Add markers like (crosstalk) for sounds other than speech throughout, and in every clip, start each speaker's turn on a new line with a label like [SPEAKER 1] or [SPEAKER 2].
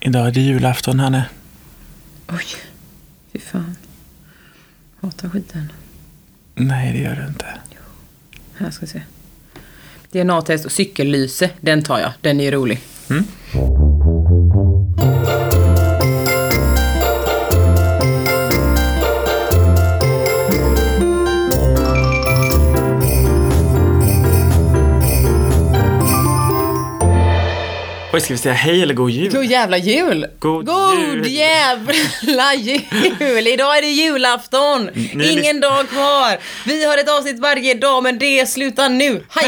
[SPEAKER 1] Idag är det julafton, Hanne.
[SPEAKER 2] Oj, fy fan. Hatar skiten.
[SPEAKER 1] Nej, det gör du inte.
[SPEAKER 2] Här ska vi se. DNA-test och cykellyse, den tar jag. Den är ju rolig.
[SPEAKER 1] Oj, ska vi säga hej eller god jul?
[SPEAKER 2] God jävla jul!
[SPEAKER 1] God jul.
[SPEAKER 2] jävla jul! Idag är det julafton!
[SPEAKER 1] ni-
[SPEAKER 2] Ingen dag kvar! Vi har ett avsnitt varje dag, men det slutar nu. Hej!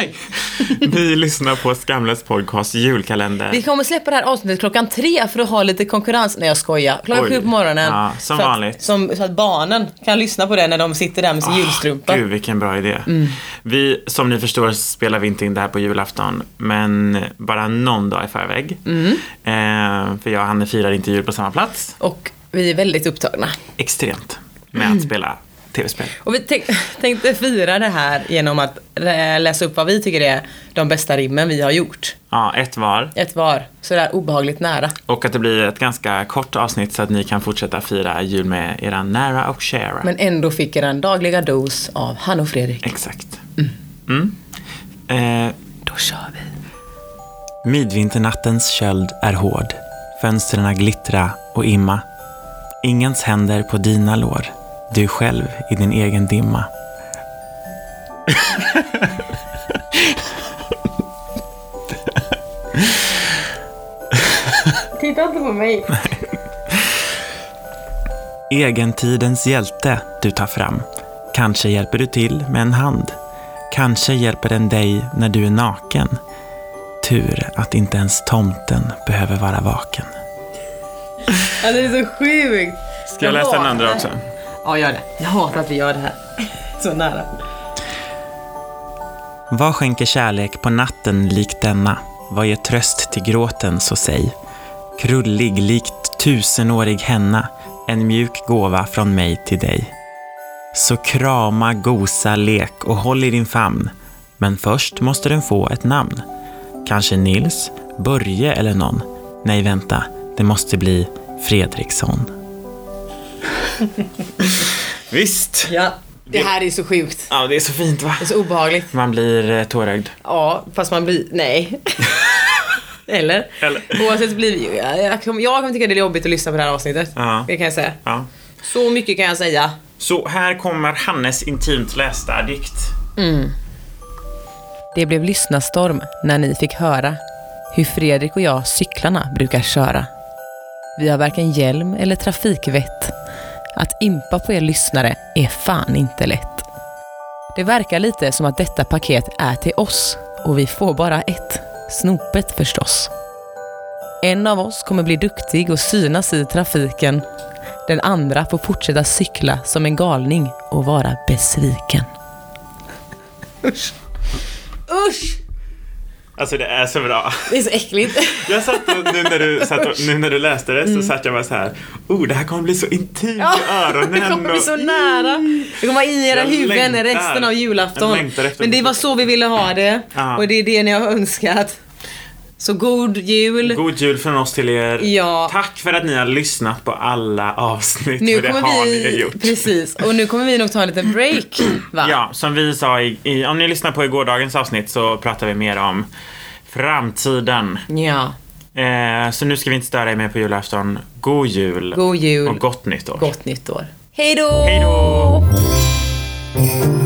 [SPEAKER 1] Hej! (laughs) Ni lyssnar på Skamlös podcast julkalender.
[SPEAKER 2] Vi kommer släppa det här avsnittet klockan tre för att ha lite konkurrens. Nej jag skojar. Klockan
[SPEAKER 1] Oj.
[SPEAKER 2] sju på morgonen.
[SPEAKER 1] Ja, som
[SPEAKER 2] så
[SPEAKER 1] vanligt. Ah,
[SPEAKER 2] Att, som, så att barnen kan lyssna på det när de sitter där med sin julstrumpa. Mm.
[SPEAKER 1] Gud, vilken bra idé. Vi, som ni förstår, spelar vi inte in det här på julafton, men bara någon dag i förväg.
[SPEAKER 2] Mm.
[SPEAKER 1] Eh, för jag och Hanne firar inte jul på samma plats.
[SPEAKER 2] Och vi är väldigt upptagna.
[SPEAKER 1] Extremt med
[SPEAKER 2] Mm.
[SPEAKER 1] att spela tv-spel.
[SPEAKER 2] Och vi tänk, (laughs) tänkte fira det här genom att eh, läsa upp vad vi tycker är de bästa rimmen vi har gjort.
[SPEAKER 1] Ja, ett var.
[SPEAKER 2] Ett var. Sådär obehagligt nära.
[SPEAKER 1] Och att det blir ett ganska kort avsnitt så att ni kan fortsätta fira jul med era nära och kära.
[SPEAKER 2] Men ändå fick er en dagliga dos av han och Fredrik.
[SPEAKER 1] Exakt. Mm. Eh,
[SPEAKER 2] Då kör vi.
[SPEAKER 1] Midvinternattens köld är hård. Fönstren glittra och imma. Ingens händer på dina lår. Du själv i din egen dimma.
[SPEAKER 3] Titta inte på mig.
[SPEAKER 1] Egentidens hjälte du tar fram. Kanske hjälper du till med en hand. Kanske hjälper den dig när du är naken. Tur att inte ens tomten behöver vara vaken.
[SPEAKER 2] Ja, det är så sjukt.
[SPEAKER 1] Ska jag läsa den andra också?
[SPEAKER 2] Ja, gör det. Jag hatar att vi gör det här. (laughs) Så nära.
[SPEAKER 1] Vad skänker kärlek på natten lik denna? Vad ger tröst till gråten, så säg. Krullig likt tusenårig henna, en mjuk gåva från mig till dig. Så krama, gosa, lek och håll i din famn. Men först måste den få ett namn. Kanske Nils, Börje eller någon. Nej, vänta, det måste bli
[SPEAKER 2] (laughs)
[SPEAKER 1] Fredriksson. Visst!
[SPEAKER 2] Ja. Det här är så sjukt.
[SPEAKER 1] Ja, det är så fint va?
[SPEAKER 2] Det är så obehagligt.
[SPEAKER 1] Man blir eh, tårögd.
[SPEAKER 2] Ja, fast man blir... Nej. (laughs) Eller?
[SPEAKER 1] Eller.
[SPEAKER 2] Oavsett så blir vi... Jag, jag kommer jag kommer tycka det är jobbigt att lyssna på det här avsnittet.
[SPEAKER 1] Ja.
[SPEAKER 2] Det kan jag säga.
[SPEAKER 1] Ja.
[SPEAKER 2] Så mycket kan jag säga.
[SPEAKER 1] Så här kommer Hannes intimt lästa dikt.
[SPEAKER 2] Det blev lyssnarstorm när ni fick höra hur Fredrik och jag cyklarna brukar köra. Vi har varken hjälm eller trafikvett. Att impa på er lyssnare är fan inte lätt. Det verkar lite som att detta paket är till oss och vi får bara ett. Snopet förstås. En av oss kommer bli duktig och synas i trafiken. Den andra får fortsätta cykla som en galning och vara besviken. Usch! Usch!
[SPEAKER 1] Alltså det är så bra.
[SPEAKER 2] Det är så
[SPEAKER 1] (laughs)
[SPEAKER 2] äckligt.
[SPEAKER 1] Jag satt och, nu, när du, satt och, nu när du läste det så satt jag bara så här. Oh, det här kommer bli så intimt i öronen.
[SPEAKER 2] Mm. det kommer bli
[SPEAKER 1] och-
[SPEAKER 2] så nära. Det kommer vara i era
[SPEAKER 1] Jag
[SPEAKER 2] huvuden
[SPEAKER 1] längtar.
[SPEAKER 2] resten av julafton.
[SPEAKER 1] Jag längtar efter
[SPEAKER 2] Men det
[SPEAKER 1] det.
[SPEAKER 2] var så vi ville ha det.
[SPEAKER 1] Ja.
[SPEAKER 2] Och det är det ni har önskat. Så god jul.
[SPEAKER 1] God jul från oss till er.
[SPEAKER 2] Ja.
[SPEAKER 1] Tack för att ni har lyssnat på alla avsnitt.
[SPEAKER 2] nu
[SPEAKER 1] för det
[SPEAKER 2] kommer
[SPEAKER 1] har ni
[SPEAKER 2] vi...
[SPEAKER 1] gjort.
[SPEAKER 2] Precis. Och nu kommer vi nog ta en liten break. Va?
[SPEAKER 1] Ja, som vi sa i, i, om ni lyssnar på gårdagens avsnitt så pratar vi mer om framtiden.
[SPEAKER 2] ja.
[SPEAKER 1] Eh, så nu ska vi inte störa er mer på julafton. God jul.
[SPEAKER 2] God jul.
[SPEAKER 1] Och gott nytt år.
[SPEAKER 2] Gott nytt år. Hej då!
[SPEAKER 1] Hej då!
[SPEAKER 3] Hej